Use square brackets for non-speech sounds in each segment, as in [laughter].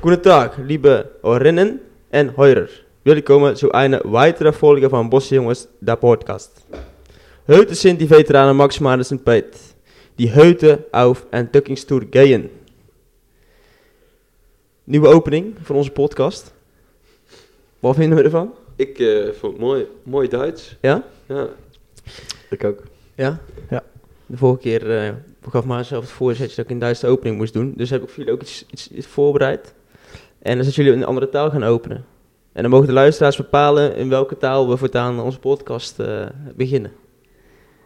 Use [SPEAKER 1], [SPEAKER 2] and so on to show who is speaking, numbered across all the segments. [SPEAKER 1] Guten Tag, liebe Hörerinnen und Hörer. Willkommen zu einer weiteren Folge von Bosse Jungs, der Podcast. Heute sind die Veteranen Max Madison Peit, die heute auf Entdeckungstour gehen. Nieuwe opening van onze podcast. Wat vinden we ervan?
[SPEAKER 2] Ik eh, vond het mooi. Mooi Duits.
[SPEAKER 1] Ja?
[SPEAKER 2] Ja.
[SPEAKER 3] Ik ook.
[SPEAKER 1] Ja?
[SPEAKER 3] Ja.
[SPEAKER 1] De vorige keer eh, gaf Maarten het voorzetje dat ik een Duitse opening moest doen. Dus heb ik voor jullie ook iets, iets, iets voorbereid. En dan zullen jullie een andere taal gaan openen. En dan mogen de luisteraars bepalen in welke taal we voortaan onze podcast eh, beginnen.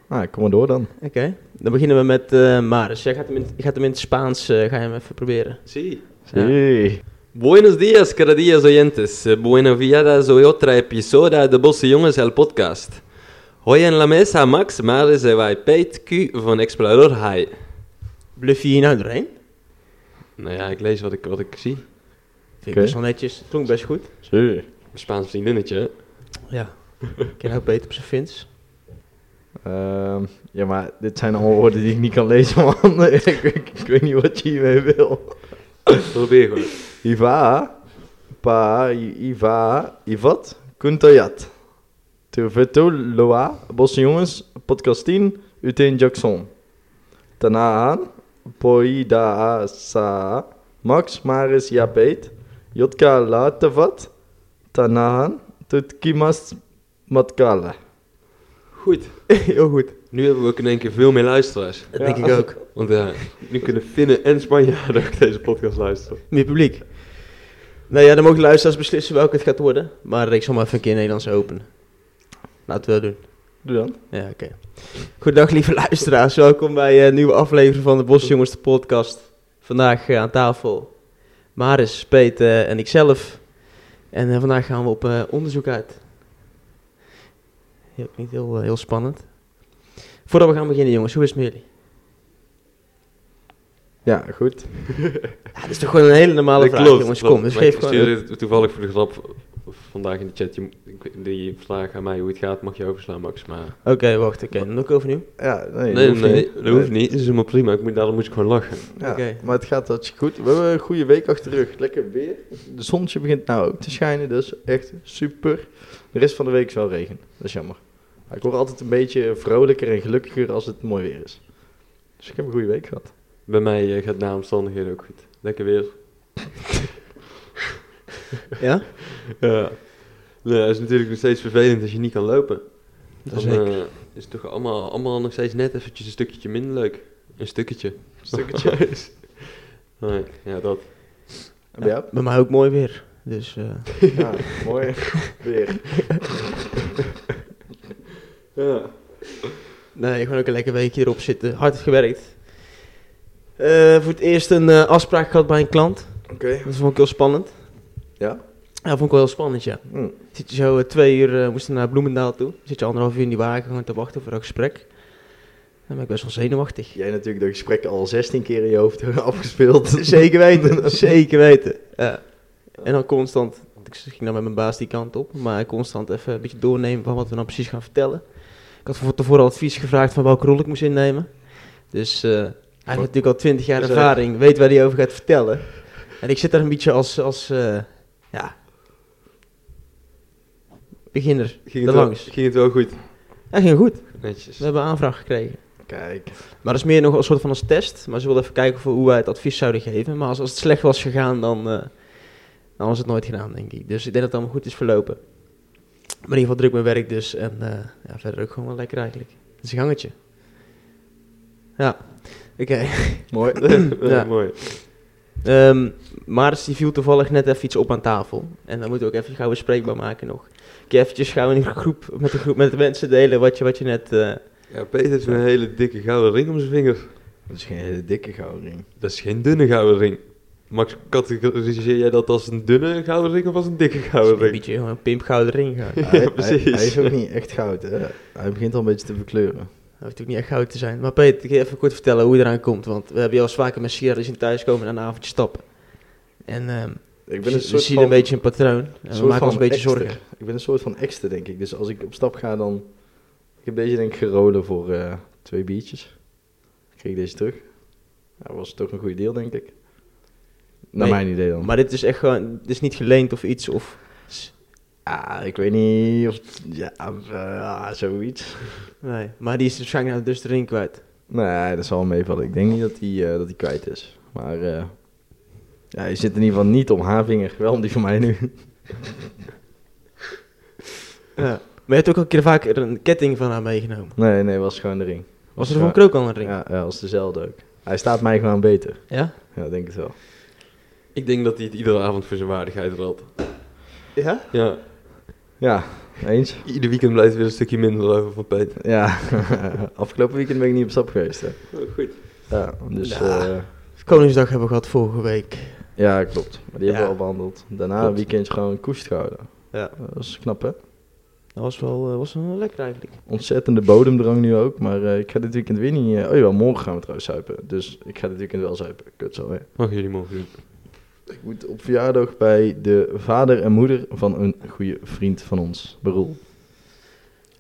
[SPEAKER 3] Nou, kom maar door dan.
[SPEAKER 1] Oké. Dan beginnen we met eh Maris. Jij gaat hem in, je gaat hem in het Spaans eh, ga je hem even proberen.
[SPEAKER 2] Zie.
[SPEAKER 1] Ja.
[SPEAKER 3] Hey.
[SPEAKER 2] Buenos días, queridos oyentes. Eh, Buenos días hoy otra episodio de Bosse Jongens, el podcast. Hoy en la mesa Max, maar ze wij Pete Q van Explorer High.
[SPEAKER 1] Bluff je hier nou doorheen?
[SPEAKER 2] Nou ja, ik lees wat ik, wat ik zie.
[SPEAKER 1] Vind ik
[SPEAKER 3] Oké.
[SPEAKER 1] best wel netjes. Klonk best goed.
[SPEAKER 3] Zie.
[SPEAKER 2] Mijn Spaans vriendinnetje. hè?
[SPEAKER 1] Ja. Ik ken ook beter op zijn Fins.
[SPEAKER 3] Ehm, ja, maar dit zijn allemaal woorden die ik niet kan lezen, [laughs] man. ik, ik, ik weet niet wat je hiermee wil.
[SPEAKER 2] Probeer gewoon.
[SPEAKER 3] Iva, pa, i- Iva, Ivat, Kuntajat. Turveto, Loa, Bosse Jongens, Podcast 10, Uteen Jackson. Tanaan, Poida, Sa, Max, Maris, Japet, Jotka, Latevat, Tanaan, Tutkimas, Matkala.
[SPEAKER 2] Goed.
[SPEAKER 1] [laughs] Heel goed.
[SPEAKER 2] Nu hebben we ook in één keer veel meer luisteraars.
[SPEAKER 1] Dat
[SPEAKER 3] Ja.
[SPEAKER 1] denk ik ook.
[SPEAKER 2] Want ja, nu kunnen Finnen en Spanjaarden [laughs] ook deze podcast luisteren.
[SPEAKER 1] Meer publiek. Nou ja, dan mogen de luisteraars beslissen welke het gaat worden. Maar ik zal maar even een keer Nederlands openen. Laten we dat doen.
[SPEAKER 3] Doe dan.
[SPEAKER 1] Ja, oké. Goedendag lieve luisteraars. Welkom bij eh, een nieuwe aflevering van de Bosjongens de podcast. Vandaag eh, aan tafel Maris, Peter en ikzelf. En eh, vandaag gaan we op eh, onderzoek uit. Heel, niet heel, eh, heel spannend. Voordat we gaan beginnen jongens, hoe is het met jullie?
[SPEAKER 3] Ja, goed.
[SPEAKER 1] Ja, dit Ah, is toch gewoon een hele normale vraag jongens. Kom, dus
[SPEAKER 2] Maar ik
[SPEAKER 1] geef gewoon...
[SPEAKER 2] stuurde het toevallig voor de grap vandaag in de chat. Je, moet- ik weet- die vraag aan mij hoe het gaat mag je overslaan, Max. Maar
[SPEAKER 1] Oké, wacht. Oké, dan doe ik overnieuw.
[SPEAKER 3] Ja, nee,
[SPEAKER 2] nee, nee,
[SPEAKER 3] hoeft niet.
[SPEAKER 2] dat hoeft niet. Dat is helemaal prima. Ik moet, daarom moest ik gewoon lachen.
[SPEAKER 3] Ja,
[SPEAKER 1] Oké.
[SPEAKER 3] maar het gaat hartstikke goed. We hebben een goede week achter de rug. Lekker weer. De zonnetje begint nou ook te schijnen, dus echt super. De rest van de week is wel regen. Dat is jammer. Maar ik word altijd een beetje vrolijker en gelukkiger als het mooi weer is. Dus ik heb een goede week gehad.
[SPEAKER 2] Bij mij eh, gaat na omstandigheden ook goed. Lekker weer.
[SPEAKER 1] Ja?
[SPEAKER 2] Ja. Nee, het is natuurlijk nog steeds vervelend als je niet kan lopen.
[SPEAKER 1] Dat is
[SPEAKER 2] Dan eh, is het toch allemaal, allemaal nog steeds net eventjes een stukje minder leuk. Een stukketje. [laughs]
[SPEAKER 3] Stukketje.
[SPEAKER 2] nee, ja, dat.
[SPEAKER 3] En bij jou?
[SPEAKER 1] Bij mij ook mooi weer. Dus eh,
[SPEAKER 3] Ja, mooi weer.
[SPEAKER 2] Ja.
[SPEAKER 1] nee, gewoon ook een lekker weekje erop zitten. Hard gewerkt. Eh, voor het eerst een eh, afspraak gehad bij een klant.
[SPEAKER 3] Oké.
[SPEAKER 1] Dat vond ik heel spannend.
[SPEAKER 3] Ja?
[SPEAKER 1] Ja, vond ik wel heel spannend, ja.
[SPEAKER 3] Hm.
[SPEAKER 1] Zit je zo eh, twee uur, eh, moesten we naar Bloemendaal toe. Zit je anderhalf uur in die wagen gewoon te wachten voor een gesprek. Dan ben ik best wel zenuwachtig.
[SPEAKER 3] Jij natuurlijk de gesprekken al 16 keer in je hoofd
[SPEAKER 1] [laughs]
[SPEAKER 3] [laughs] afgespeeld.
[SPEAKER 1] Zeker weten, [laughs] zeker weten. Ja. En dan constant, ik ging dan met mijn baas die kant op, maar constant even een beetje doornemen van wat we nou precies gaan vertellen. Ik had van tevoren al advies gevraagd van welke rol ik moest innemen. Dus eh, hij heeft natuurlijk al twintig jaar
[SPEAKER 3] Dus hij-
[SPEAKER 1] ervaring, weet waar hij over gaat vertellen. En ik zit daar een beetje als, als eh, ja, beginner.
[SPEAKER 2] Ging
[SPEAKER 1] Daar
[SPEAKER 2] het, wel,
[SPEAKER 1] langs.
[SPEAKER 2] ging het wel goed?
[SPEAKER 1] Hij ging goed,
[SPEAKER 2] Netjes.
[SPEAKER 1] we hebben een aanvraag gekregen.
[SPEAKER 3] Kijk.
[SPEAKER 1] Maar dat is meer nog een soort van als test. Maar ze wilden even kijken voor hoe wij het advies zouden geven. Maar als, als het slecht was gegaan, dan, eh, dan was het nooit gedaan, denk ik. Dus ik denk dat het allemaal goed is verlopen. Maar in ieder geval druk mijn werk dus. En eh, ja, verder ook gewoon wel lekker eigenlijk. Het is een gangetje. Ja, oké.
[SPEAKER 3] Mooi. [laughs]
[SPEAKER 1] Ja.
[SPEAKER 2] [laughs] ja. Mooi.
[SPEAKER 1] Ehm Maris die viel toevallig net even iets op aan tafel. En dat moeten we ook even gauw bespreekbaar maken nog. Kun je eventjes gauw in een groep, met de groep met de mensen delen wat je, wat je net... eh,
[SPEAKER 2] Ja, Peter heeft een hele dikke gouden ring om zijn vinger.
[SPEAKER 3] Dat is geen hele dikke gouden ring.
[SPEAKER 2] Dat is geen dunne gouden ring. Max, categoriseer jij dat als een dunne gouden ring of als een dikke gouden
[SPEAKER 1] een
[SPEAKER 2] ring?
[SPEAKER 1] beetje gewoon een pimpgouden ring gaan. [laughs]
[SPEAKER 2] Ja,
[SPEAKER 3] Hij, hij-
[SPEAKER 2] precies.
[SPEAKER 3] hij is ook niet echt goud. Hè? Hij begint al een beetje te verkleuren.
[SPEAKER 1] Dat hoeft natuurlijk niet echt goud te zijn. Maar Peter, kun je even kort vertellen hoe je eraan komt? Want we hebben jou al vaker met Sierra zien thuiskomen en een avondje stappen. En ehm
[SPEAKER 3] Ik
[SPEAKER 1] we zien- we zien een beetje een patroon. En we
[SPEAKER 3] soort
[SPEAKER 1] maken ons een
[SPEAKER 3] van
[SPEAKER 1] beetje
[SPEAKER 3] ekster.
[SPEAKER 1] zorgen.
[SPEAKER 3] Ik ben een soort van extra, denk ik. Dus als ik op stap ga, dan... Ik heb deze denk ik gerolen voor eh, twee biertjes. Kreeg ik deze terug. Dat was toch een goed deal, denk ik. Naar
[SPEAKER 1] Nee.
[SPEAKER 3] mijn idee dan.
[SPEAKER 1] Maar dit is echt gewoon, dit is niet geleend of iets. Of,
[SPEAKER 3] Ah, ik weet niet of... Ja, eh, zoiets.
[SPEAKER 1] nee. Maar die is waarschijnlijk nou dus de ring kwijt.
[SPEAKER 3] Nee, dat zal wel meevallen. Ik denk niet dat hij eh, dat hij kwijt is. Maar eh, ja, je zit in ieder geval niet om haar vinger. Wel om die van mij nu.
[SPEAKER 1] Ja. Maar je hebt ook al een keer vaker een ketting van haar meegenomen.
[SPEAKER 3] Nee, nee, was gewoon de ring.
[SPEAKER 1] Was er voor
[SPEAKER 3] Ja.
[SPEAKER 1] een krook al een ring?
[SPEAKER 3] Ja, ja, was dezelfde ook. Hij staat mij gewoon beter.
[SPEAKER 1] Ja?
[SPEAKER 3] Ja, denk het wel.
[SPEAKER 2] Ik denk dat hij het iedere avond voor zijn waardigheid ruilt.
[SPEAKER 1] Ja?
[SPEAKER 2] Ja.
[SPEAKER 3] Ja, eens.
[SPEAKER 2] Ieder weekend blijft weer een stukje minder over van Peter.
[SPEAKER 3] Ja, [laughs] afgelopen weekend ben ik niet op stap geweest. Hè.
[SPEAKER 2] goed.
[SPEAKER 3] Ja, dus
[SPEAKER 1] Ja.
[SPEAKER 3] eh,
[SPEAKER 1] Koningsdag hebben we gehad vorige week.
[SPEAKER 3] ja, klopt. Maar die hebben
[SPEAKER 1] Ja.
[SPEAKER 3] we al behandeld. Daarna
[SPEAKER 1] Klopt.
[SPEAKER 3] een weekendje gewoon koest gehouden. Eh,
[SPEAKER 1] Ja.
[SPEAKER 3] Dat was knap, hè?
[SPEAKER 1] Dat was wel, eh, was wel lekker eigenlijk.
[SPEAKER 3] Ontzettende bodemdrang nu ook, maar eh, ik ga dit weekend weer niet... eh, oh ja, morgen gaan we trouwens zuipen. Dus ik ga dit weekend wel zuipen. Kut zo, hè.
[SPEAKER 2] Mag jullie mogen doen.
[SPEAKER 3] Ik moet op verjaardag bij de vader en moeder van een goede vriend van ons, Beroel.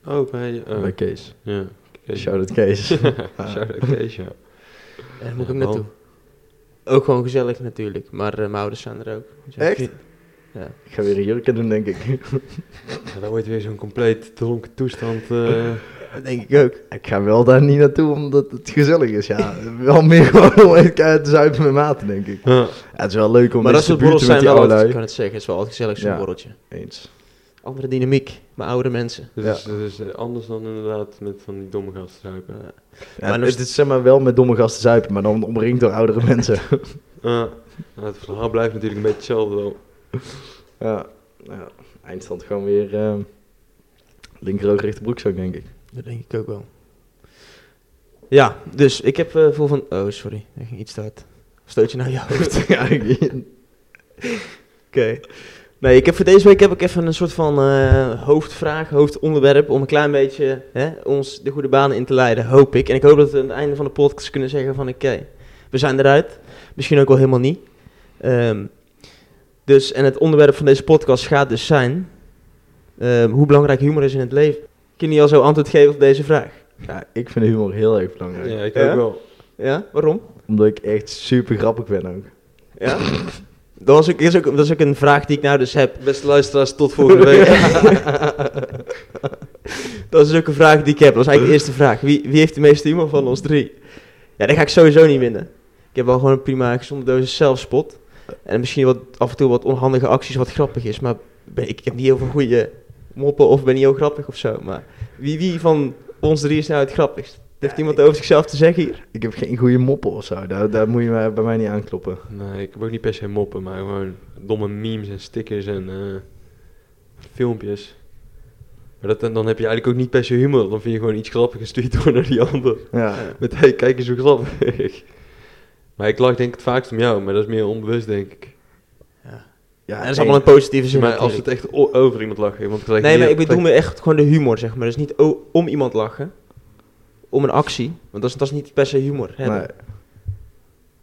[SPEAKER 2] Oh, bij... eh,
[SPEAKER 3] Bij Kees.
[SPEAKER 2] Ja. [laughs]
[SPEAKER 3] Shout-out
[SPEAKER 1] [laughs]
[SPEAKER 3] Kees.
[SPEAKER 2] Shout-out Kees, ja.
[SPEAKER 1] En daar moet ik ook
[SPEAKER 2] Ja,
[SPEAKER 1] naartoe. Ook gewoon gezellig natuurlijk. Maar eh, mijn ouders zijn er ook. Dus ja,
[SPEAKER 3] Echt?
[SPEAKER 1] vriend- Ja.
[SPEAKER 3] ik ga weer een jurken doen, denk ik.
[SPEAKER 2] Ja, dan wordt weer zo'n compleet dronken toestand. eh, [laughs]
[SPEAKER 1] Dat denk ik ook.
[SPEAKER 3] ik ga wel daar niet naartoe omdat het gezellig is, ja. wel meer gewoon om even keihard te zuipen met maten, denk ik.
[SPEAKER 2] ja.
[SPEAKER 3] Ja, het is wel leuk om
[SPEAKER 1] maar dat
[SPEAKER 3] eens te
[SPEAKER 1] soort borrels
[SPEAKER 3] buurten met
[SPEAKER 1] zijn
[SPEAKER 3] die
[SPEAKER 1] wel altijd, ik
[SPEAKER 3] allerlei.
[SPEAKER 1] kan het zeggen, is wel altijd gezellig zo'n
[SPEAKER 3] Ja.
[SPEAKER 1] borreltje.
[SPEAKER 3] Eens.
[SPEAKER 1] Andere dynamiek, maar oude mensen.
[SPEAKER 2] Dat,
[SPEAKER 3] Ja.
[SPEAKER 2] is, dat is eh, anders dan inderdaad met van die domme gasten zuipen.
[SPEAKER 1] Ja.
[SPEAKER 3] Ja,
[SPEAKER 1] Maar nog
[SPEAKER 3] het is zeg maar wel met domme gasten zuipen, maar dan omringd door
[SPEAKER 1] [laughs]
[SPEAKER 3] oudere mensen.
[SPEAKER 2] Ja. Nou, het verhaal blijft natuurlijk een beetje hetzelfde wel.
[SPEAKER 3] ja. ja, eindstand gewoon weer ehm linkeroog rechterbroekzak,
[SPEAKER 1] [laughs]
[SPEAKER 3] denk ik.
[SPEAKER 1] Dat denk ik ook wel. Ja, dus ik heb eh vol van... Oh, sorry. Er ging iets te hard. Stootje naar je nou hoofd. Oké.
[SPEAKER 3] ja, ik-
[SPEAKER 1] Nee, ik heb voor deze week heb ik even een soort van eh, hoofdvraag, hoofdonderwerp... om een klein beetje hè, ons de goede banen in te leiden, hoop ik. En ik hoop dat we aan het einde van de podcast kunnen zeggen van... oké, we zijn eruit. Misschien ook wel helemaal niet. Ehm, dus, en het onderwerp van deze podcast gaat dus zijn... ehm, hoe belangrijk humor is in het leven. Kun je al zo antwoord geven op deze vraag?
[SPEAKER 3] ja, ik vind humor heel erg belangrijk.
[SPEAKER 2] Ja, ik
[SPEAKER 1] Ja?
[SPEAKER 2] ook wel.
[SPEAKER 1] Ja, waarom?
[SPEAKER 3] Omdat ik echt super grappig ben ook.
[SPEAKER 1] Ja? Dat, was ook, is ook, dat is ook een vraag die ik nou dus heb.
[SPEAKER 2] Beste luisteraars, tot volgende week.
[SPEAKER 1] [laughs] Dat is ook een vraag die ik heb. Dat is eigenlijk de eerste vraag. Wie, wie heeft de meeste humor van ons drie? Ja, daar ga ik sowieso niet winnen. Ik heb wel gewoon een prima gezonde dosis zelfspot. En misschien wat, af en toe wat onhandige acties wat grappig is. Maar ben, ik heb niet heel veel goede moppen of ben niet heel grappig of zo. Maar wie, wie van ons drie is nou het grappigst? Heeft
[SPEAKER 3] Ja,
[SPEAKER 1] iemand
[SPEAKER 3] ik-
[SPEAKER 1] over zichzelf te zeggen hier?
[SPEAKER 3] Ik heb geen goede moppen of zo, daar, daar moet je mij- bij mij niet aankloppen.
[SPEAKER 2] Nee, ik heb ook niet per se moppen, maar gewoon domme memes en stickers en eh, filmpjes. Maar dat, dan heb je eigenlijk ook niet per se humor. Dan vind je gewoon iets grappigs en stuur je het [laughs] door naar die ander.
[SPEAKER 3] Ja,
[SPEAKER 2] Met, hey, kijk eens hoe grappig. [laughs] maar ik lach denk ik het vaakst om jou, maar dat is meer onbewust denk ik.
[SPEAKER 3] ja
[SPEAKER 1] dat is
[SPEAKER 3] en-
[SPEAKER 1] allemaal een positieve zin.
[SPEAKER 2] maar als
[SPEAKER 1] natuurlijk.
[SPEAKER 2] het echt o- over iemand lachen, want krijg
[SPEAKER 1] Nee,
[SPEAKER 2] je-
[SPEAKER 1] maar ik bedoel
[SPEAKER 2] krijg-
[SPEAKER 1] me echt gewoon de humor, zeg maar. Dus niet o- om iemand lachen. Om een actie. Want dat is, dat is niet per se humor. Hè?
[SPEAKER 3] Nee.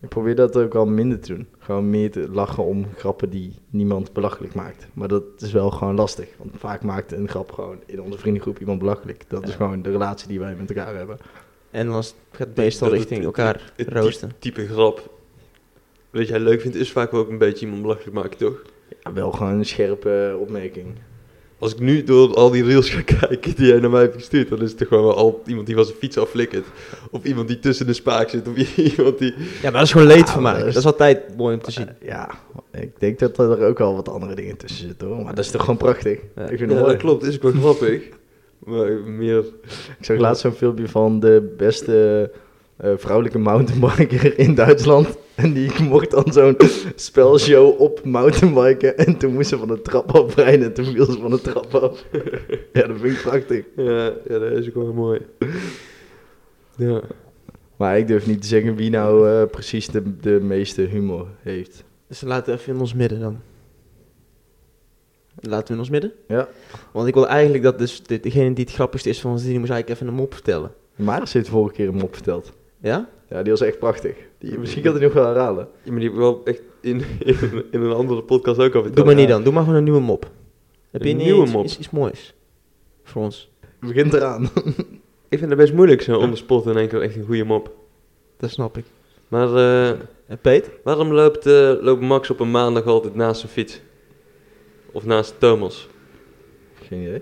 [SPEAKER 3] Ik probeer dat ook al minder te doen. Gewoon meer te lachen om grappen die niemand belachelijk maakt. Maar dat is wel gewoon lastig. Want vaak maakt een grap gewoon in onze vriendengroep iemand belachelijk. Dat is
[SPEAKER 1] Ja.
[SPEAKER 3] gewoon de relatie die wij met elkaar hebben.
[SPEAKER 1] En dan is- gaat het
[SPEAKER 2] Dat
[SPEAKER 1] meestal
[SPEAKER 2] het-
[SPEAKER 1] richting
[SPEAKER 2] het-
[SPEAKER 1] elkaar
[SPEAKER 2] het
[SPEAKER 1] roosten.
[SPEAKER 2] type- type grap. Wat jij leuk vindt, is vaak wel ook een beetje iemand belachelijk maken, toch?
[SPEAKER 3] Ja, wel gewoon een scherpe opmerking.
[SPEAKER 2] Als ik nu door al die reels ga [laughs] kijken die jij naar mij hebt gestuurd, dan is het toch gewoon wel al iemand die van zijn fiets afflikkert. Of iemand die tussen de spaak zit. Of [laughs] iemand die...
[SPEAKER 1] Ja, maar dat is gewoon leed van
[SPEAKER 3] Ah, maar
[SPEAKER 1] maken. Dat
[SPEAKER 3] dat is-
[SPEAKER 1] is altijd mooi om te zien.
[SPEAKER 3] Ja, ik denk dat er ook wel wat andere dingen tussen zitten hoor. Maar dat is toch gewoon prachtig.
[SPEAKER 1] Ja.
[SPEAKER 3] Ik vind
[SPEAKER 2] Ja,
[SPEAKER 3] het mooi.
[SPEAKER 2] dat klopt. Is ook wel grappig. [laughs] Maar meer...
[SPEAKER 3] Ik zag laatst zo'n filmpje van de beste eh, vrouwelijke mountainbiker in Duitsland. En die mocht dan zo'n spelshow op mountainbiken. En toen moest ze van de trap afrijden en toen viel ze van de trap af. ja, dat vind ik prachtig.
[SPEAKER 2] Ja, ja, dat is ook wel mooi. Ja.
[SPEAKER 3] Maar ik durf niet te zeggen wie nou eh, precies de, de meeste humor heeft.
[SPEAKER 2] Ah,
[SPEAKER 1] Dus dan laten we even in ons midden dan. Laten we in ons midden?
[SPEAKER 3] Ja.
[SPEAKER 1] Want ik wil eigenlijk dat dus de- degene die het grappigste is van ons, die moest eigenlijk even een mop vertellen.
[SPEAKER 3] Maar ze heeft vorige keer een mop verteld.
[SPEAKER 1] Ja?
[SPEAKER 3] Ja, die was echt prachtig. Die, misschien kan ik die nog wel herhalen.
[SPEAKER 2] Ja, maar die heb ik wel echt in, [laughs] in, in een andere podcast ook al
[SPEAKER 1] Doe maar niet dan. Doe maar gewoon een nieuwe mop. Heb je
[SPEAKER 2] Een
[SPEAKER 1] niet
[SPEAKER 2] nieuwe
[SPEAKER 1] iets,
[SPEAKER 2] mop?
[SPEAKER 1] Iets, iets moois voor ons?
[SPEAKER 3] Het begint eraan. [laughs]
[SPEAKER 2] Ik vind het best moeilijk zo on the spot in één keer echt een goede mop.
[SPEAKER 1] Dat snap ik.
[SPEAKER 2] Maar eh,
[SPEAKER 1] En Peet?
[SPEAKER 2] Waarom loopt, eh, loopt Max op een maandag altijd naast zijn fiets? Of naast Thomas?
[SPEAKER 3] Geen idee.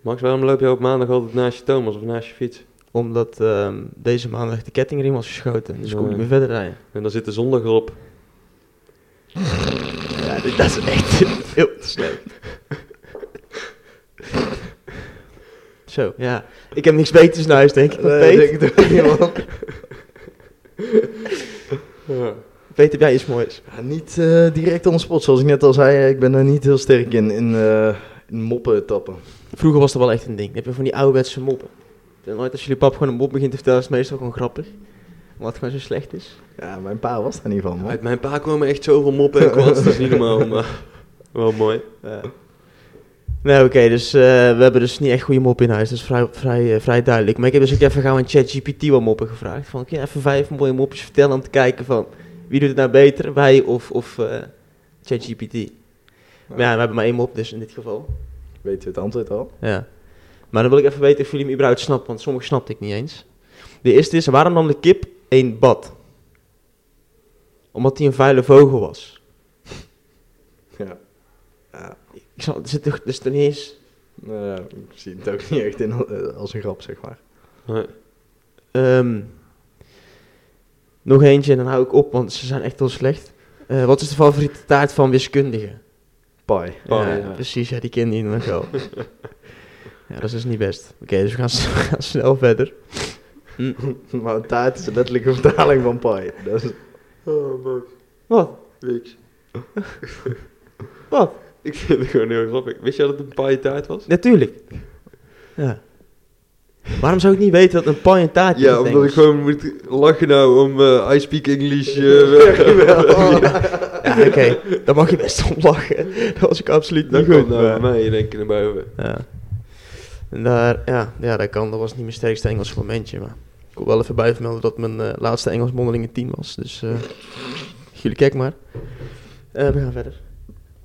[SPEAKER 2] Max, waarom loop je op maandag altijd naast je Thomas of naast je fiets?
[SPEAKER 1] Omdat ehm, deze maandag de kettingring was geschoten. Dus kon ik
[SPEAKER 2] Nee.
[SPEAKER 1] weer verder rijden.
[SPEAKER 2] En dan zit de zondag erop.
[SPEAKER 1] Ja, dit- dat is echt heel te slecht. Zo, ja. Ik heb niks beters naar huis, denk ik.
[SPEAKER 3] Nee,
[SPEAKER 1] Peet,
[SPEAKER 3] denk ik toch niet, man.
[SPEAKER 2] Ja.
[SPEAKER 1] Peet, heb jij iets moois?
[SPEAKER 3] Ja, niet eh, direct on the spot, zoals ik net al zei. eh, Ik ben daar niet heel sterk in, in, eh, in moppen tappen.
[SPEAKER 1] Vroeger was dat wel echt een ding. Dan heb je van die ouderwetse moppen. En nooit als jullie pap gewoon een mop begint te vertellen, is het meestal gewoon grappig. Omdat het gewoon zo slecht is.
[SPEAKER 3] Ja, mijn pa was daar niet van, man.
[SPEAKER 2] Uit mijn pa kwamen echt zoveel moppen en kwads, dat is niet [laughs] normaal, maar wel mooi.
[SPEAKER 1] Ja. Eh. Nee, oké, dus eh, we hebben dus niet echt goede moppen in huis. Dat is vrij, vrij, eh, vrij duidelijk. Maar ik heb dus ook even gaan aan ChatGPT wat moppen gevraagd. Van, kun je even vijf mooie mopjes vertellen om te kijken van... Wie doet het nou beter, wij of, of eh, ChatGPT? Maar ja, we hebben maar één mop dus in dit geval.
[SPEAKER 3] Weet u het antwoord al?
[SPEAKER 1] Ja. Maar dan wil ik even weten of jullie hem überhaupt snappen, want sommige snapte ik niet eens. De eerste is, waarom nam de kip een bad? Omdat hij een vuile vogel was.
[SPEAKER 3] Ja.
[SPEAKER 1] Ik snap, er zit toch, dus ten eerste...
[SPEAKER 3] Nou ja, ik zie het ook niet echt in, eh, als een grap, zeg maar.
[SPEAKER 2] Nee.
[SPEAKER 1] ehm, nog eentje en dan hou ik op, want ze zijn echt heel slecht. Eh, wat is de favoriete taart van wiskundigen?
[SPEAKER 3] Pai.
[SPEAKER 2] Paal,
[SPEAKER 1] ja,
[SPEAKER 2] Oh, ja.
[SPEAKER 1] Precies, ja, die kende je nog
[SPEAKER 2] [laughs]
[SPEAKER 1] wel. ja, dat is dus niet best. Oké, dus we gaan, s- [laughs] we gaan snel verder.
[SPEAKER 3] [laughs] Maar een taart is letterlijk een vertaling van pai. Dat is... [laughs]
[SPEAKER 2] Oh, Max,
[SPEAKER 1] Wat?
[SPEAKER 2] niks.
[SPEAKER 1] Wat?
[SPEAKER 2] Ik vind het gewoon heel grappig. Wist je dat het een paaie taart was?
[SPEAKER 1] Natuurlijk. Ja. Waarom zou ik niet weten dat een pie een taartje is?
[SPEAKER 2] Ja, omdat
[SPEAKER 1] Engels?
[SPEAKER 2] ik gewoon moet lachen nou om eh I speak English. [laughs] eh,
[SPEAKER 1] Ja, oké. Daar mag je best om lachen. [laughs] Dat was ik absoluut
[SPEAKER 2] Dan
[SPEAKER 1] niet
[SPEAKER 2] komt
[SPEAKER 1] goed.
[SPEAKER 2] nou
[SPEAKER 1] maar-
[SPEAKER 2] bij mij in één keer naar boven.
[SPEAKER 1] Ja. En daar, ja, ja, dat kan. Dat was niet mijn sterkste Engels momentje. Maar ik wil wel even bijvermelden dat mijn eh, laatste Engels mondeling een 10 was. Dus eh, jullie kijk maar. Eh, we gaan verder.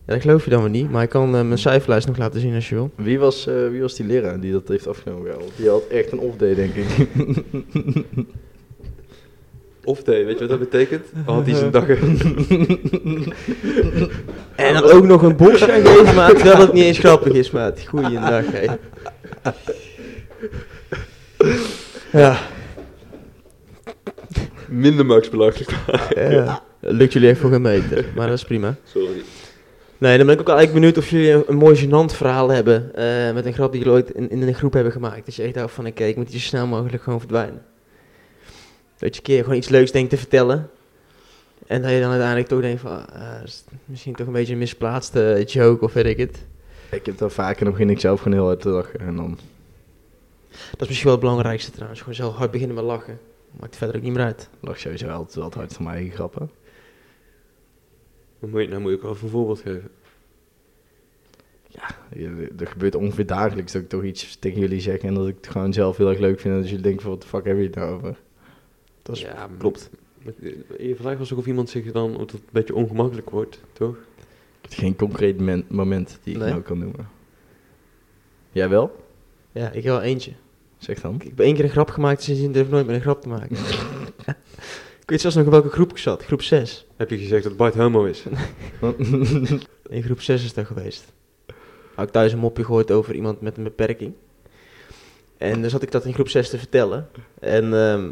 [SPEAKER 1] Ja, dat geloof je dan weer niet. Maar ik kan eh, mijn cijferlijst nog laten zien als je wil.
[SPEAKER 3] Wie was, eh, wie was die leraar die dat heeft afgenomen? Ja, want die had echt een off-day, denk ik. [laughs]
[SPEAKER 2] Of thee, weet je wat dat betekent? [laughs] Al had hij zijn dag er-
[SPEAKER 1] En dan ook nog een box [laughs] gaan geven, maat. Terwijl het niet eens grappig is, maat. Goeiedag, hé. Ja,
[SPEAKER 2] minder Max belachelijk.
[SPEAKER 1] ja. Dat lukt jullie echt voor geen meter. Maar dat is prima.
[SPEAKER 2] [laughs] Sorry.
[SPEAKER 1] Nee, dan ben ik ook eigenlijk benieuwd of jullie een, een mooi gênant verhaal hebben. eh, met een grap die jullie ooit in, in een groep hebben gemaakt. Dat je echt dacht van, oké, ik moet hier zo snel mogelijk gewoon verdwijnen. Dat je een keer gewoon iets leuks denkt te vertellen. En dat je dan uiteindelijk toch denkt van, ah, dat is misschien toch een beetje een misplaatste joke of weet ik het.
[SPEAKER 3] ik heb daar vaker nog in, ik zelf gewoon heel hard te lachen. En dan...
[SPEAKER 1] Dat is misschien wel het belangrijkste trouwens. Gewoon zelf hard beginnen met lachen. Maakt verder ook niet meer uit.
[SPEAKER 3] lag sowieso altijd wat hard van mijn eigen grappen.
[SPEAKER 2] Dan moet je, nou moet ik wel even een voorbeeld geven.
[SPEAKER 3] Ja, Er gebeurt ongeveer dagelijks dat ik toch iets tegen jullie zeg en dat ik het gewoon zelf heel erg leuk vind. En dat jullie denken van, wat de fuck hebben jullie het nou over? Dat is...
[SPEAKER 2] Ja, klopt. Je vraag was ook of iemand zich dan of dat het een beetje ongemakkelijk wordt, toch?
[SPEAKER 3] Ik heb Geen concreet men- moment die ik
[SPEAKER 1] Nee.
[SPEAKER 3] nou kan noemen. Jij wel?
[SPEAKER 1] Ja, ik heb wel eentje.
[SPEAKER 3] Zeg dan. [laughs]
[SPEAKER 1] Ik heb één keer een grap gemaakt, sindsdien durf ik nooit meer een grap te maken. [laughs] ik weet zelfs nog in welke groep ik zat. Groep 6.
[SPEAKER 2] Heb je gezegd dat Bart homo is?
[SPEAKER 1] In groep 6 is dat geweest. Had ik thuis een mopje gehoord over iemand met een beperking. En dan zat ik dat in groep 6 te vertellen. En ehm,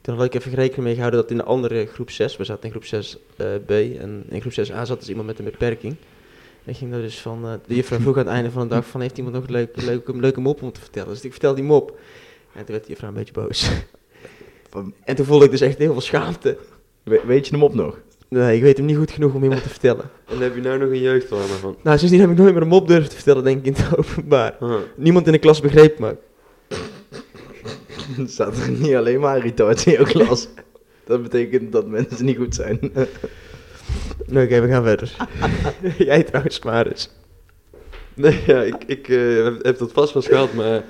[SPEAKER 1] toen had ik even rekening mee gehouden dat in de andere groep 6, we zaten in groep 6 eh, B en in groep 6 A zat dus iemand met een beperking. En ik ging daar dus van, eh, de juffrouw vroeg aan het einde van de dag van, heeft iemand nog een leuke, leuke, leuke mop om te vertellen? Dus ik vertelde die mop. En toen werd de juffrouw een beetje boos.
[SPEAKER 3] Van-
[SPEAKER 1] En toen voelde ik dus echt heel veel schaamte.
[SPEAKER 3] We- weet je hem op nog? [laughs]
[SPEAKER 1] Nee, ik weet hem niet goed genoeg om iemand te vertellen.
[SPEAKER 2] En heb je nou nog een jeugdtrauma van?
[SPEAKER 1] Nou, sindsdien heb ik nooit meer een mop durven te vertellen, denk ik, in het [laughs] openbaar.
[SPEAKER 2] Ah.
[SPEAKER 1] Niemand in de klas begreep me.
[SPEAKER 3] Er staat er niet alleen maar retards in jouw klas. Dat betekent dat mensen niet goed zijn. [laughs]
[SPEAKER 1] Oké, we gaan verder. [laughs] Jij trouwens, Maris.
[SPEAKER 2] Nee, ja, ik, ik eh, heb, heb dat vast wel eens gehad, maar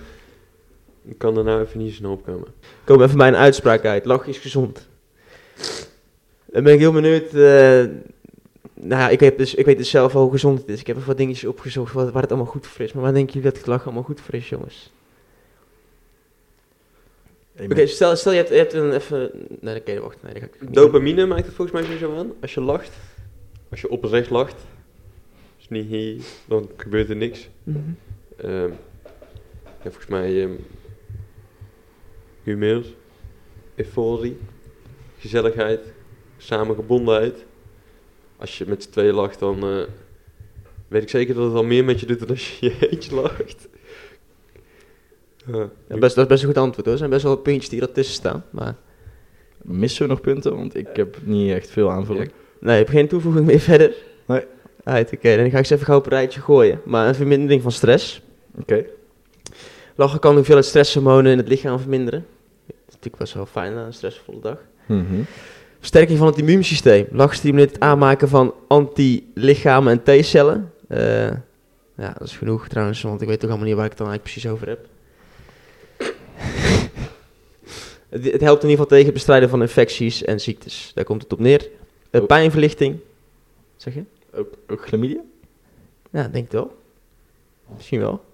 [SPEAKER 2] ik kan er nou even niet zo snel op komen.
[SPEAKER 1] Kom even bij een uitspraak uit. Lachen is gezond. Dan ben ik heel benieuwd. eh, nou ja, ik, heb dus, ik weet dus zelf al hoe gezond het is. Ik heb even wat dingetjes opgezocht wat- waar het allemaal goed voor is. Maar waar denken jullie dat het lachen allemaal goed voor is, jongens? Oké, stel, stel je, hebt, je hebt een even... Nee, oké, wacht. Nee, dat ga ik niet doen.
[SPEAKER 2] Dopamine maakt het volgens mij sowieso aan. Als je lacht, als je oprecht lacht, dus niet hier, dan gebeurt er niks.
[SPEAKER 1] Mhm.
[SPEAKER 2] Ehm, ja, volgens mij ehm humeur, euforie, gezelligheid, samengebondenheid. Als je met z'n tweeën lacht, dan eh, weet ik zeker dat het al meer met je doet dan als je [laughs] je eentje lacht. Ja,
[SPEAKER 1] Ja, best, dat is best een goed antwoord hoor. Er zijn best wel wat puntjes die ertussen staan. Maar
[SPEAKER 3] Missen we nog punten? Want ik heb niet echt veel aanvulling.
[SPEAKER 1] nee, ik heb geen toevoeging meer [laughs] verder.
[SPEAKER 3] Nee.
[SPEAKER 1] Right, oké, dan ga ik ze even gauw op een rijtje gooien. Maar een vermindering van stress.
[SPEAKER 3] Oké.
[SPEAKER 1] Lachen kan de hoeveelheid stresshormonen in het lichaam verminderen. Dat is natuurlijk best wel fijn na een stressvolle dag. Versterking van het immuunsysteem. Lach stimuleert het aanmaken van antilichamen en T-cellen. Eh, ja, dat is genoeg trouwens, want ik weet ook allemaal niet waar ik het dan eigenlijk precies over heb. [laughs] het, het helpt in ieder geval tegen het bestrijden van infecties en ziektes. Daar komt het op neer. Eh,
[SPEAKER 3] Oh.
[SPEAKER 1] Pijnverlichting. Zeg je?
[SPEAKER 3] Ook, ook chlamydia?
[SPEAKER 1] Ja, denk het wel. Misschien wel.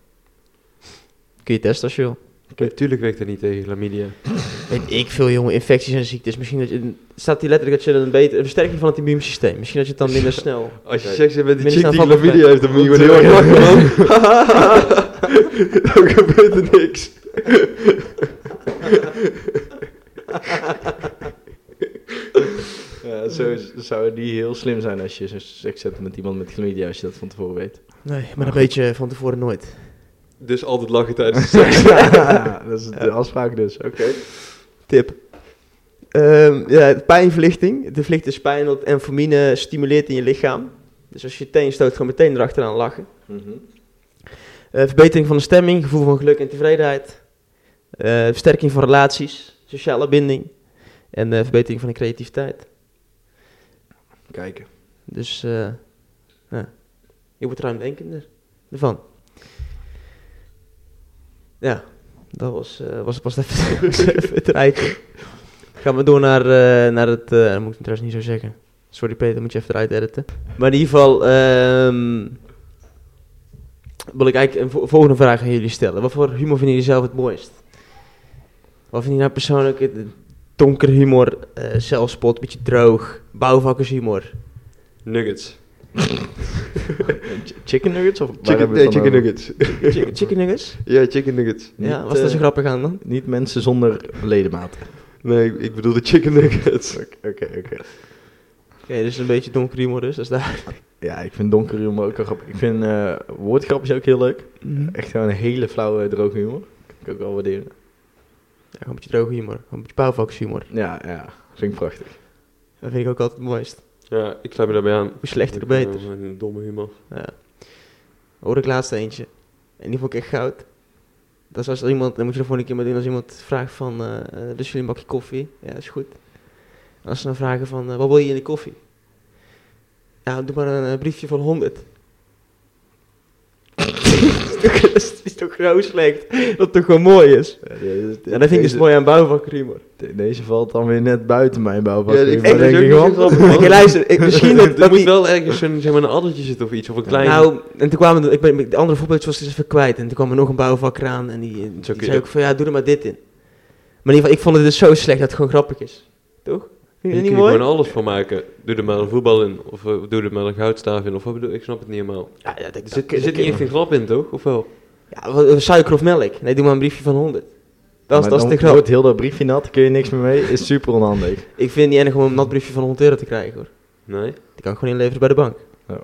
[SPEAKER 1] Kun je testen als je wil.
[SPEAKER 2] Natuurlijk werkt dat niet tegen chlamydia.
[SPEAKER 1] Weet ik veel, jongen, infecties en ziektes. Misschien dat je, staat hier letterlijk dat je een beter, een versterking van het immuunsysteem. Misschien dat je het dan [laughs] minder snel.
[SPEAKER 2] Als je
[SPEAKER 3] Oké.
[SPEAKER 2] seks hebt met die
[SPEAKER 1] Minder
[SPEAKER 2] chick
[SPEAKER 1] snel
[SPEAKER 2] die
[SPEAKER 1] van
[SPEAKER 2] chlamydia heeft, dan moet je gewoon heel erg lachen, [laughs] man.
[SPEAKER 1] [laughs]
[SPEAKER 2] dan gebeurt er niks.
[SPEAKER 3] Ja, zo is- zou die heel slim zijn als je zo seks hebt met iemand met chlamydia, als je dat van tevoren weet.
[SPEAKER 1] Nee, maar een beetje van tevoren nooit.
[SPEAKER 2] Dus altijd lachen tijdens de seks.
[SPEAKER 3] ja, [laughs] dat is de afspraak dus. Oké.
[SPEAKER 1] Tip. Ehm, ja, pijnverlichting. De vlicht is pijn dat enfamine stimuleert in je lichaam. Dus als je je teen stoot, gewoon meteen erachteraan lachen. Eh, verbetering van de stemming, gevoel van geluk en tevredenheid. Eh, versterking van relaties, sociale binding. En eh, verbetering van de creativiteit.
[SPEAKER 3] Kijken.
[SPEAKER 1] Dus eh, ja. je wordt ruimdenkender ervan. Ja, dat was, eh, was, was even, was even het rijtje. Gaan we door naar, eh, naar het... eh, dat moet ik trouwens niet zo zeggen. Sorry Peter, moet je even eruit editen. Maar in ieder geval... ehm, wil ik eigenlijk een vo- volgende vraag aan jullie stellen. Wat voor humor vinden jullie zelf het mooist? Wat vind je nou persoonlijk... Het, het donkere humor, eh, zelfspot, beetje droog, bouwvakkershumor.
[SPEAKER 2] Nuggets.
[SPEAKER 3] Ch- Eh, Chicken nuggets? Of waar
[SPEAKER 2] Chicken,
[SPEAKER 3] hebben we het dan
[SPEAKER 2] chicken
[SPEAKER 3] over?
[SPEAKER 2] nuggets.
[SPEAKER 1] Chicken, chicken nuggets?
[SPEAKER 2] [laughs] Ja, chicken nuggets.
[SPEAKER 3] Niet,
[SPEAKER 1] ja, was dat
[SPEAKER 3] eh,
[SPEAKER 1] zo grappig aan dan?
[SPEAKER 3] Niet mensen zonder ledematen.
[SPEAKER 2] Nee, ik, ik bedoel de chicken nuggets.
[SPEAKER 3] Oké, oké.
[SPEAKER 1] Oké, dus een beetje donker humor dus, dat is [laughs] daar.
[SPEAKER 3] Ja, ik vind donker humor ook wel grappig. Ik vind eh woordgrapjes ook heel leuk.
[SPEAKER 1] Mhm.
[SPEAKER 3] Echt gewoon een hele flauwe, droge humor. Kan ik ook wel waarderen.
[SPEAKER 1] Ja, gewoon een beetje droge humor, gewoon een beetje bouwvakkers humor.
[SPEAKER 3] Ja, ja. Vind ik prachtig.
[SPEAKER 1] Dat vind ik ook altijd het mooist.
[SPEAKER 2] Ja, ik sluit me daarbij aan. eh,
[SPEAKER 1] Hoe slechter, hoe beter.
[SPEAKER 2] Een domme humor.
[SPEAKER 1] Ja. Hoor ik laatste eentje. En die vond ik echt goud. Dat is als er iemand, dan moet je er volgende keer maar doen, als iemand vraagt van, eh, eh, dus jullie een bakje koffie? Ja, is goed. En als ze dan vragen van, eh, wat wil je in de koffie? Ja, doe maar een eh, briefje van 100. [laughs] dat, is toch, dat is- is toch zo slecht, dat het toch gewoon mooi is.
[SPEAKER 3] Ja, dit-
[SPEAKER 1] Ja, dat vind ik dus
[SPEAKER 3] deze-
[SPEAKER 1] mooi aan bouwvakkerhumor.
[SPEAKER 3] de- Deze valt dan weer net buiten mijn bouwvak.
[SPEAKER 2] Ja, ik
[SPEAKER 3] humor,
[SPEAKER 2] vind het
[SPEAKER 3] denk
[SPEAKER 2] ook
[SPEAKER 3] ik,
[SPEAKER 2] niet
[SPEAKER 3] want-
[SPEAKER 2] zo grappig. man.
[SPEAKER 1] Oké, luister, ik- misschien dat-
[SPEAKER 2] er
[SPEAKER 1] dat
[SPEAKER 2] moet
[SPEAKER 1] die-
[SPEAKER 2] wel ergens een, zeg maar, een addertje zitten of iets, of een klein...
[SPEAKER 1] Nou, en toen kwamen er- ik ben, de andere voorbeeldjes was ik dus even kwijt. En toen kwam er nog een bouwvakker aan en die, die
[SPEAKER 2] kun je
[SPEAKER 1] zei
[SPEAKER 2] ook-
[SPEAKER 1] ook van, ja, doe er maar dit in. Maar in ieder geval, ik vond het dus zo slecht dat het gewoon grappig is. Toch? Vind
[SPEAKER 2] Hier
[SPEAKER 1] je
[SPEAKER 2] kun
[SPEAKER 1] dat
[SPEAKER 2] je
[SPEAKER 1] niet mooi?
[SPEAKER 2] gewoon alles van maken. Doe er maar een voetbal in, of eh, doe er maar een goudstaaf in, of wat bedoel ik? snap het niet helemaal.
[SPEAKER 1] Ja, ja, dat,
[SPEAKER 2] Er
[SPEAKER 1] dat-
[SPEAKER 2] zit,
[SPEAKER 1] dat-
[SPEAKER 2] er zit niet echt een grap in, toch? Of wel?
[SPEAKER 1] Ja, wat- eh, suiker of melk? Nee, doe maar een briefje van 100. Dat is,
[SPEAKER 3] Maar
[SPEAKER 1] dat is
[SPEAKER 3] dan
[SPEAKER 1] de grap.
[SPEAKER 3] wordt heel dat briefje nat, kun je niks meer mee. Is super onhandig.
[SPEAKER 1] Ik vind het niet erg om een nat briefje van 100 euro te krijgen, hoor.
[SPEAKER 2] Nee?
[SPEAKER 1] Die kan ik gewoon inleveren bij de bank.
[SPEAKER 3] Ja.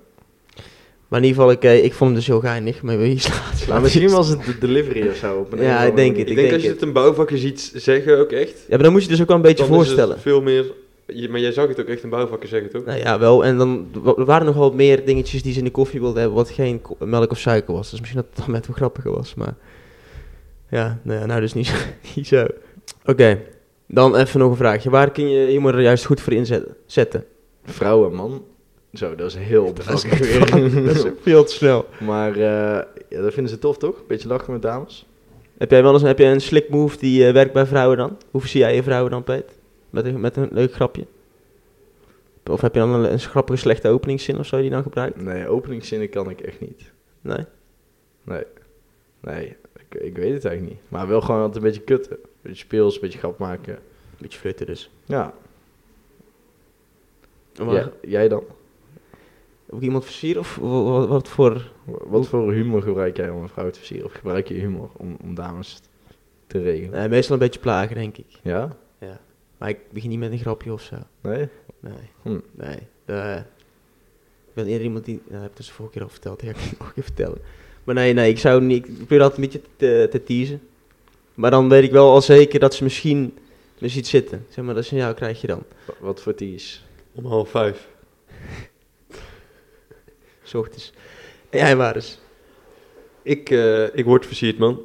[SPEAKER 1] Maar in ieder geval, ik, eh, ik vond hem dus heel geinig. Maar hier slaat
[SPEAKER 3] [laughs] Maar Nou, misschien was het de delivery of zo. Op een
[SPEAKER 1] Ja,
[SPEAKER 3] of andere
[SPEAKER 1] ik denk
[SPEAKER 3] manier.
[SPEAKER 2] Ik,
[SPEAKER 1] Ik
[SPEAKER 2] denk
[SPEAKER 1] denk
[SPEAKER 2] als je
[SPEAKER 1] het.
[SPEAKER 2] het een bouwvakker ziet zeggen, ook echt.
[SPEAKER 1] Ja, maar dan moet je dus ook wel een beetje
[SPEAKER 2] dan is het
[SPEAKER 1] voorstellen.
[SPEAKER 2] veel meer... je- maar jij zag het ook echt een bouwvakker zeggen, toch?
[SPEAKER 1] Nou ja, wel. En dan wa- er waren nog wel meer dingetjes die ze in de koffie wilden hebben, wat geen ko- melk of suiker was. Dus misschien dat het dan met hem grappiger was. Maar ja, nou, ja, nou dus niet zo. [laughs] niet zo. Oké, dan even nog een vraagje. Waar kun je humor er juist goed voor inzetten? Zetten?
[SPEAKER 3] Vrouwen, man. Zo, dat is heel oppervlakkig
[SPEAKER 1] [laughs]
[SPEAKER 3] [laughs]
[SPEAKER 1] Dat is
[SPEAKER 3] weer.
[SPEAKER 1] veel te snel.
[SPEAKER 3] maar eh, ja, dat vinden ze tof, toch? Beetje lachen met dames.
[SPEAKER 1] Heb jij wel eens heb jij een slick move die eh, werkt bij vrouwen dan? Hoe zie jij je vrouwen dan, Peet? Met een, met een leuk grapje? Of heb je dan een, een grappige slechte openingszin of zo die je dan gebruikt?
[SPEAKER 3] Nee, openingszinnen kan ik echt niet.
[SPEAKER 1] Nee?
[SPEAKER 3] Nee. Nee, ik, ik weet het eigenlijk niet. Maar wel gewoon altijd een beetje kutten. beetje speels, een beetje grap maken.
[SPEAKER 1] Beetje flirten dus.
[SPEAKER 3] Ja,
[SPEAKER 1] Maar
[SPEAKER 3] ja, jij dan?
[SPEAKER 1] ook iemand versieren of wa- wa- wat, voor...
[SPEAKER 3] Wa- Wat voor humor gebruik jij om een vrouw te versieren? Of gebruik je humor om, om dames te regelen?
[SPEAKER 1] Nee, Eh, meestal een beetje plagen, denk ik.
[SPEAKER 3] Ja?
[SPEAKER 1] Maar ik begin niet met een grapje of zo.
[SPEAKER 3] Nee?
[SPEAKER 1] Nee.
[SPEAKER 3] Hm.
[SPEAKER 1] Nee. De, ik ben eerder iemand die... Nou, dat heb ik dus de vorige keer al verteld. Die ga ik [laughs] nog een keer vertellen. Maar nee, nee. Ik zou niet... Ik probeer altijd een beetje te, te teasen. Maar dan weet ik wel al zeker dat ze misschien me ziet zitten. Zeg maar, dat signaal krijg je dan.
[SPEAKER 3] Wa- Wat voor tease?
[SPEAKER 2] Om half vijf.
[SPEAKER 1] S ochtends. En jij waar dus.
[SPEAKER 2] Ik, eh, ik word versierd, man.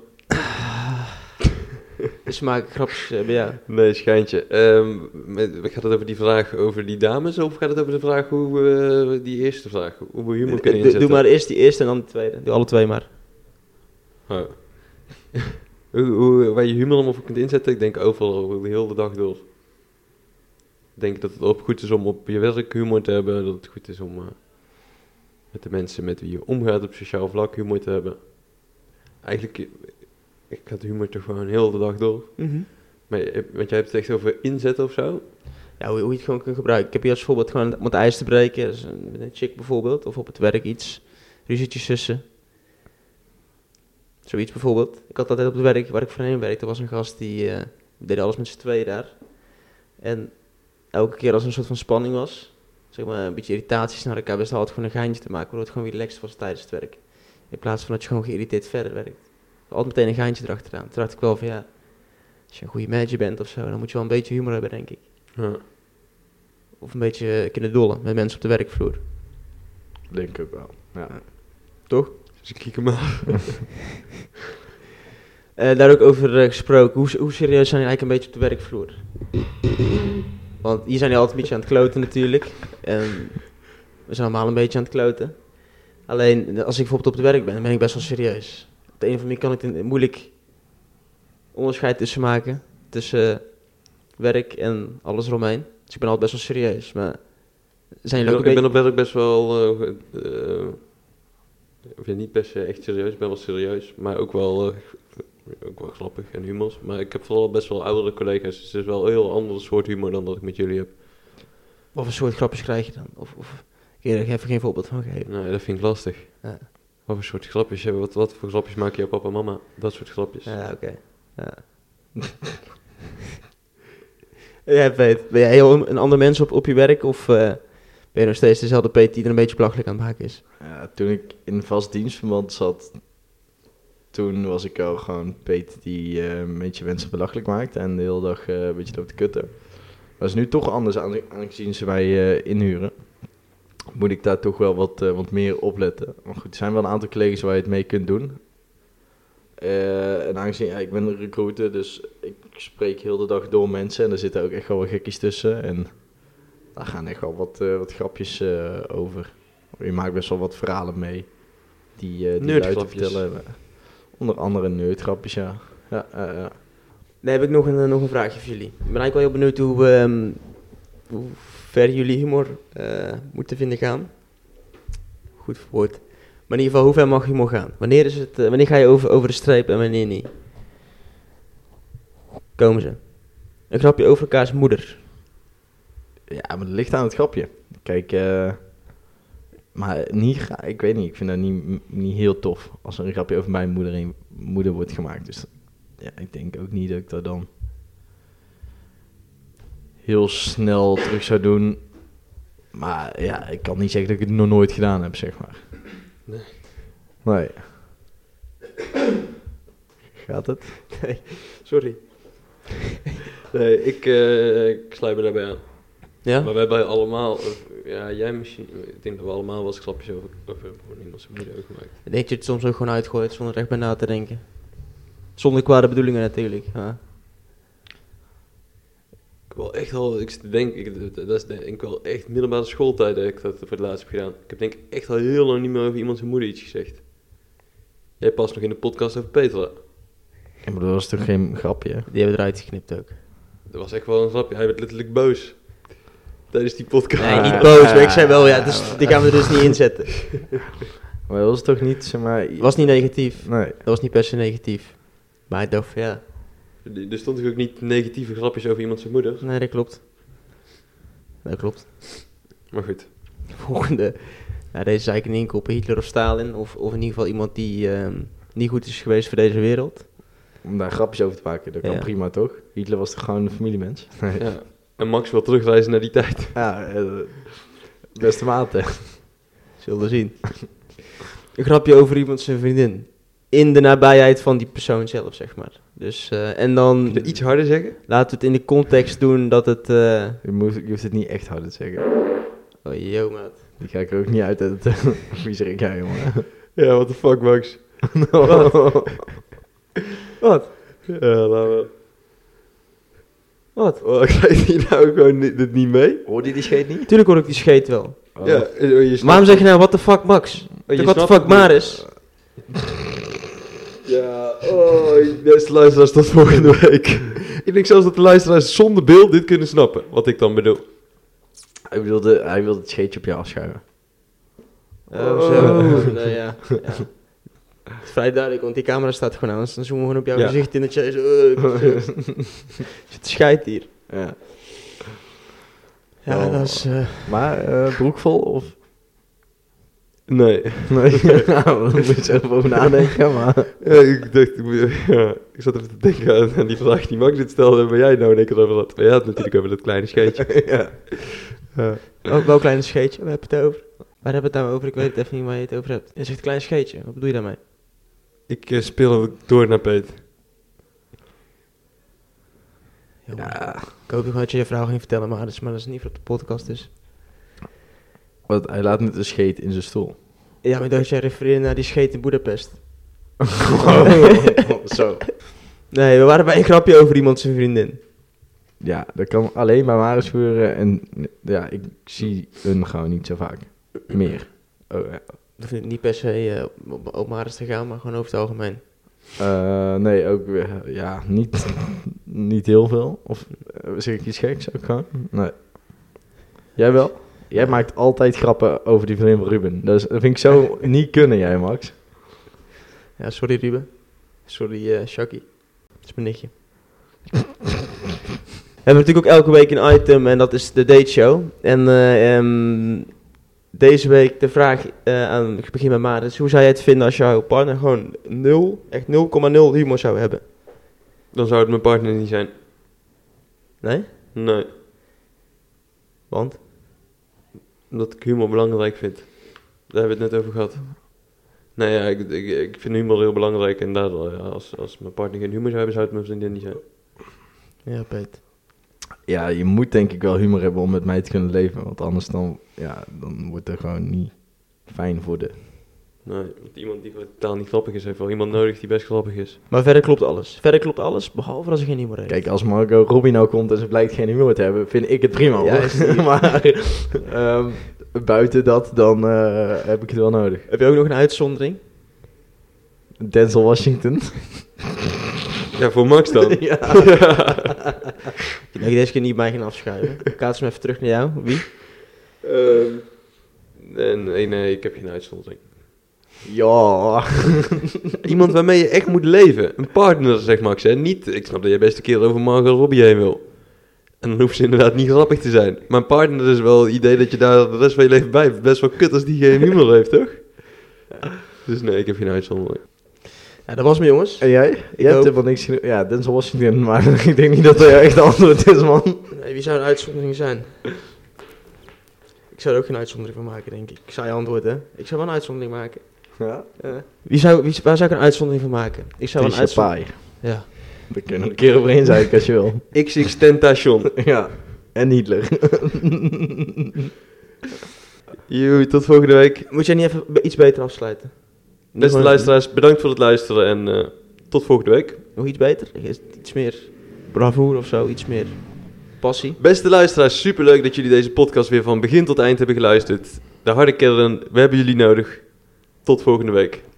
[SPEAKER 1] Dus ze maken grapjes eh, bij jou.
[SPEAKER 2] Nee, schijntje. Ehm, met- gaat het over die vraag over die dames of gaat het over de vraag hoe eh, die eerste vraag, hoe we humor kunnen
[SPEAKER 1] Eh, Doe-
[SPEAKER 2] inzetten?
[SPEAKER 1] Doe maar eerst die eerste en dan die tweede. Doe alle twee maar.
[SPEAKER 2] Oh. [laughs] hoe, hoe, waar je humor allemaal voor kunt inzetten, ik denk overal, over de hele dag door. Ik denk dat het ook goed is om op je werk humor te hebben, dat het goed is om eh, met de mensen met wie je omgaat op sociaal vlak humor te hebben. Eigenlijk, eh, ik had humor toch gewoon heel de dag door.
[SPEAKER 1] Mhm.
[SPEAKER 2] Maar, je- want jij hebt het echt over inzetten of zo?
[SPEAKER 1] Ja, hoe, hoe je het gewoon kunt gebruiken. Ik heb hier als voorbeeld gewoon om het ijs te breken. Dus een, met een chick bijvoorbeeld. Of op het werk iets. Ruzietjes tussen. Zoiets bijvoorbeeld. Ik had altijd op het werk waar ik voorheen werkte. was een gast die eh, we deden alles met z'n tweeën daar. En elke keer als er een soort van spanning was. Zeg maar een beetje irritaties naar elkaar. Best altijd gewoon een geintje te maken. Waardoor het gewoon weer relaxed was tijdens het werk. In plaats van dat je gewoon geïrriteerd verder werkt. Altijd meteen een geintje erachteraan. Toen dacht ik wel van ja. Als je een goede manager bent of zo. Dan moet je wel een beetje humor hebben denk ik
[SPEAKER 2] Ja.
[SPEAKER 1] of een beetje eh, kunnen dollen met mensen op de werkvloer.
[SPEAKER 3] Denk ik ook wel. Ja.
[SPEAKER 2] Dus ik kijk hem aan.
[SPEAKER 1] Eh, daar ook over eh, gesproken, hoe, hoe serieus zijn jullie eigenlijk een beetje op de werkvloer? Want hier zijn jullie altijd een beetje aan het kloten natuurlijk. En we zijn allemaal een beetje aan het kloten. Alleen eh, als ik bijvoorbeeld op het werk ben, dan ben ik best wel serieus. Op de een of andere manier kan ik er moeilijk onderscheid tussen maken. Tussen eh, werk en alles eromheen. Dus ik ben altijd best wel serieus. Maar zijn
[SPEAKER 2] Ik
[SPEAKER 1] jullie
[SPEAKER 2] ben,
[SPEAKER 1] ook een
[SPEAKER 2] ik ben
[SPEAKER 1] beetje...
[SPEAKER 2] op werk best wel. eh, eh, of ja, niet per se echt serieus, ik ben wel serieus, maar ook wel, eh, ook wel grappig en humors. Maar ik heb vooral best wel oudere collega's, dus het is wel een heel ander soort humor dan dat ik met jullie heb.
[SPEAKER 1] Wat voor soort grapjes krijg je dan? Of, of... Ik heb er even geen voorbeeld van gegeven.
[SPEAKER 2] Nou, ja, dat vind ik lastig.
[SPEAKER 1] Ja.
[SPEAKER 2] Wat voor soort grapjes hebben wat, wat voor grapjes maken jouw papa en mama? Dat soort grapjes.
[SPEAKER 1] Ja, oké. Ja. [laughs] jij weet, ben jij heel een ander mens op, op je werk of eh, ben je nog steeds dezelfde Peet die er een beetje belachelijk aan het maken is?
[SPEAKER 3] Ja, toen ik in vast dienstverband zat, toen was ik al gewoon Peter die eh, een beetje mensen belachelijk maakt en de hele dag eh, een beetje loopt te kutten. Maar is nu toch anders, aange- aangezien ze mij eh, inhuren, moet ik daar toch wel wat, eh, wat meer op letten. Maar goed, er zijn wel een aantal collega's waar je het mee kunt doen. Eh, en aangezien ja, ik ben een recruiter, dus ik spreek heel de dag door mensen en er zitten ook echt wel wat gekkies tussen. En daar gaan echt wel wat, eh, wat grapjes eh, over. Je maakt best wel wat verhalen mee. Die, eh die luid te
[SPEAKER 2] Nerdgrapjes.
[SPEAKER 3] vertellen hebben. Onder andere nerdgrapjes, ja. Ja, eh, ja.
[SPEAKER 1] Dan heb ik nog een, eh, nog een vraagje voor jullie. Ik ben eigenlijk wel heel benieuwd hoe, ehm, hoe ver jullie humor eh, moeten vinden gaan. Goed verwoord. Maar in ieder geval, hoe ver mag humor gaan? Wanneer, is het, eh, wanneer ga je over, over de streep en wanneer niet? Komen ze. Een grapje over elkaars moeder.
[SPEAKER 3] Ja, maar het ligt aan het grapje. Kijk, eh, maar niet, ga- ik weet niet, ik vind dat niet, m- niet heel tof als er een grapje over mijn moeder, heen- moeder wordt gemaakt. Dus ja, ik denk ook niet dat ik dat dan heel snel terug zou doen. Maar ja, ik kan niet zeggen dat ik het nog nooit gedaan heb, zeg maar.
[SPEAKER 2] Nee.
[SPEAKER 3] Nee. Gaat het?
[SPEAKER 2] Sorry. [laughs] nee, ik, eh ik sluit me daarbij aan.
[SPEAKER 1] Ja?
[SPEAKER 2] Maar we hebben allemaal, of, ja, jij misschien, ik denk dat we allemaal wel eens grapjes over, over over iemands moeder hebben gemaakt.
[SPEAKER 1] Ik denk dat je het soms ook gewoon uitgooit zonder echt bij na te denken. Zonder kwade bedoelingen natuurlijk. Ja.
[SPEAKER 2] Ik wil echt al, ik denk, ik, dat is denk ik wel echt middelbare schooltijd dat ik dat voor het laatst heb gedaan. Ik heb denk ik echt al heel lang niet meer over iemand zijn moeder iets gezegd. Jij past nog in de podcast over Petra.
[SPEAKER 3] Ik bedoel, dat was toch geen grapje, hè?
[SPEAKER 1] Die hebben eruit geknipt ook.
[SPEAKER 2] Dat was echt wel een grapje, hij werd letterlijk boos. Tijdens die podcast.
[SPEAKER 1] Nee,
[SPEAKER 2] [laughs]
[SPEAKER 3] Ah.
[SPEAKER 1] niet boos, maar ik zei wel, ja, dus, die gaan we er dus niet inzetten.
[SPEAKER 3] Maar dat was toch niet, zeg maar...
[SPEAKER 1] Het was niet negatief.
[SPEAKER 3] Nee.
[SPEAKER 1] Dat was niet per se negatief. Maar ik dacht van, ja,
[SPEAKER 2] Er stond natuurlijk ook niet negatieve grapjes over iemand zijn moeder.
[SPEAKER 1] Nee, dat klopt. Dat klopt. [laughs]
[SPEAKER 2] Maar goed.
[SPEAKER 1] Volgende. Nou, deze is eigenlijk een inkoop Hitler of Stalin. Of, of in ieder geval iemand die ehm, niet goed is geweest voor deze wereld.
[SPEAKER 3] Om daar grapjes over te maken, dat kan
[SPEAKER 1] Ja.
[SPEAKER 3] prima toch? Hitler was toch gewoon een familiemens?
[SPEAKER 2] Ja. En Max wil terugreizen naar die tijd.
[SPEAKER 3] Ja, eh, beste maten.
[SPEAKER 1] Zullen we zien. Een grapje over iemand zijn vriendin. In de nabijheid van die persoon zelf, zeg maar. Dus, eh, en dan
[SPEAKER 2] Iets harder zeggen?
[SPEAKER 1] laten we het in de context doen dat het... eh
[SPEAKER 3] Je, moet, je hoeft het niet echt hard te zeggen.
[SPEAKER 1] Oh, yo, maat.
[SPEAKER 3] Die ga ik er ook niet uit uit het [laughs] viezerik, ja, jongen.
[SPEAKER 2] [laughs] Ja, what the fuck, [laughs] Max.
[SPEAKER 1] Wat?
[SPEAKER 2] Ja, laten we...
[SPEAKER 1] Wat?
[SPEAKER 2] Oh, [laughs] krijg je nou gewoon ni- dit niet mee?
[SPEAKER 3] Hoorde je die scheet niet?
[SPEAKER 1] Tuurlijk hoor ik die scheet wel.
[SPEAKER 2] Ja, eh, oh, je snapt-
[SPEAKER 1] Waarom zeg je nou, what the fuck, Max?
[SPEAKER 2] oh, je
[SPEAKER 1] what the
[SPEAKER 2] snapt
[SPEAKER 1] fuck,
[SPEAKER 2] het niet.
[SPEAKER 1] Maris?
[SPEAKER 2] Ja, oh, beste luisteraars, tot volgende week. [laughs] ik denk zelfs dat de luisteraars zonder beeld dit kunnen snappen, wat ik dan bedoel.
[SPEAKER 3] Hij wilde, hij wilde het scheetje op je afschuiven.
[SPEAKER 1] Oh,
[SPEAKER 2] Oh.
[SPEAKER 1] zo. Nou, ja. ja. Het is vrij duidelijk, want die camera staat gewoon aan. Dus dan zoomen we gewoon op jouw
[SPEAKER 2] Ja.
[SPEAKER 1] gezicht in dat jij zo... eh, Het scheidt hier.
[SPEAKER 3] Ja.
[SPEAKER 1] Ja,
[SPEAKER 3] Oh.
[SPEAKER 1] dat is... eh,
[SPEAKER 3] Maar eh broekvol of...
[SPEAKER 2] Nee.
[SPEAKER 3] [laughs]
[SPEAKER 2] [laughs]
[SPEAKER 3] Nee, [laughs] nou, daar moet je zelf over nadenken, maar...
[SPEAKER 2] Ja, ik dacht, ik, moet- ja, ik zat even te denken aan, aan die vraag die Max dit stelde, waar jij nou in één keer over had. Maar jij had natuurlijk over dat kleine scheetje.
[SPEAKER 3] ja.
[SPEAKER 2] Ja.
[SPEAKER 1] Ook wel een klein scheetje, waar heb je het over? Eh. Waar hebben we het nou over? Ik weet het even niet waar je het over hebt. Je zegt klein scheetje, wat bedoel je daarmee?
[SPEAKER 2] Ik eh, speel hem door naar Peet.
[SPEAKER 1] Jongen, Ik hoop gewoon dat je je verhaal ging vertellen, maar dat is, maar dat is niet voor de podcast dus.
[SPEAKER 3] Want hij laat niet een scheet in zijn stoel.
[SPEAKER 1] Ja, maar dat jij refereerde naar die scheet in [laughs] Boedapest. Oh. [laughs]
[SPEAKER 3] Zo.
[SPEAKER 1] Nee, we waren bij een grapje over iemand zijn vriendin.
[SPEAKER 3] Ja, dat kan alleen bij Maris gebeuren en ja, ik zie hun gewoon niet zo vaak. Meer. Oh, ja.
[SPEAKER 1] Dat vind ik niet per se eh, op- op, op Maris te gaan, maar gewoon over het algemeen.
[SPEAKER 3] Eh, nee, ook weer- ja, niet, niet heel veel. Of eh, zeg ik iets geks ook gewoon? Nee. Jij wel? Jij maakt altijd grappen over die vriendin van Ruben. Dus dat vind ik [laughs] zo niet kunnen, jij Max.
[SPEAKER 1] Ja, sorry Ruben. Sorry eh Shaki. Dat is mijn [laughs] nichtje. We hebben natuurlijk ook elke week een item en dat is de date show. En eh, ehm, deze week de vraag eh, aan, ik begin met Maris. Hoe zou jij het vinden als jouw partner gewoon nul, echt 0,0 humor zou hebben?
[SPEAKER 2] Dan zou het mijn partner niet zijn.
[SPEAKER 1] Nee?
[SPEAKER 2] Nee,
[SPEAKER 1] Want?
[SPEAKER 2] omdat ik humor belangrijk vind. Daar hebben we het net over gehad. Nou ja, ik, ik, ik vind humor heel belangrijk en daar, eh, als, als mijn partner geen humor zou hebben, zou het mijn vriendin niet zijn.
[SPEAKER 1] Ja, Peet.
[SPEAKER 3] Ja, je moet denk ik wel humor hebben om met mij te kunnen leven. Want anders dan, ja, dan wordt er gewoon niet fijn voor de...
[SPEAKER 2] Nee, want iemand die gewoon totaal niet grappig is, heeft wel iemand nodig die best grappig is.
[SPEAKER 1] Maar verder klopt alles. Verder klopt alles, behalve als er geen humor heeft.
[SPEAKER 3] Kijk, als Marco Robbie nou komt en ze blijkt geen humor te hebben, vind ik het prima.
[SPEAKER 1] Ja,
[SPEAKER 3] hoor.
[SPEAKER 1] is die-
[SPEAKER 3] [laughs] maar ehm, buiten dat, dan eh, heb ik het wel nodig.
[SPEAKER 1] Heb je ook nog een [laughs] uitzondering?
[SPEAKER 3] Denzel
[SPEAKER 1] [laughs]
[SPEAKER 3] Washington.
[SPEAKER 2] Ja, voor Max dan.
[SPEAKER 3] ja.
[SPEAKER 1] Ik denk deze keer niet bij gaan afschuiven. Ik kaats hem even terug naar jou. Wie?
[SPEAKER 2] Ehm, nee, nee, nee, ik heb geen uitzondering.
[SPEAKER 3] ja.
[SPEAKER 2] [laughs] Iemand waarmee je echt moet leven. Een partner, zeg Max. Hè? Niet, ik snap dat jij best een keer over Margot Robbie heen wil. En dan hoeft ze inderdaad niet grappig te zijn. Maar een partner is wel het idee dat je daar de rest van je leven bij hebt. Best wel kut als die geen [laughs] humor heeft, toch? Dus nee, ik heb geen uitzondering.
[SPEAKER 1] Ja, dat was me jongens.
[SPEAKER 3] En jij? jij
[SPEAKER 1] hoop-
[SPEAKER 3] hebt helemaal niks geno- Ja, Denzel Washington, maar [laughs] ik denk niet dat hij echt de antwoord is, man.
[SPEAKER 1] Nee, wie zou een uitzondering zijn? Ik zou er ook geen uitzondering van maken, denk ik. Ik zou je antwoord, hè? Ik zou wel een uitzondering maken.
[SPEAKER 3] Ja.
[SPEAKER 1] Wie zou, wie, waar zou ik een uitzondering van maken? Ik zou wel een
[SPEAKER 3] Trisha
[SPEAKER 1] uitzondering...
[SPEAKER 3] Paaij.
[SPEAKER 1] Ja.
[SPEAKER 3] Daar kunnen we een keer overheen zijn als je wil.
[SPEAKER 2] XX Tentation.
[SPEAKER 3] Ja. En Hitler.
[SPEAKER 2] Joe, tot volgende week.
[SPEAKER 1] Moet jij niet even be- iets beter afsluiten?
[SPEAKER 2] Beste
[SPEAKER 1] Nog-
[SPEAKER 2] luisteraars, bedankt voor het luisteren en eh, tot volgende week.
[SPEAKER 1] Nog iets beter? Is het Iets meer bravoer of zo? Iets meer passie?
[SPEAKER 2] Beste luisteraars, superleuk dat jullie deze podcast weer van begin tot eind hebben geluisterd. De harde kern, we hebben jullie nodig. Tot volgende week.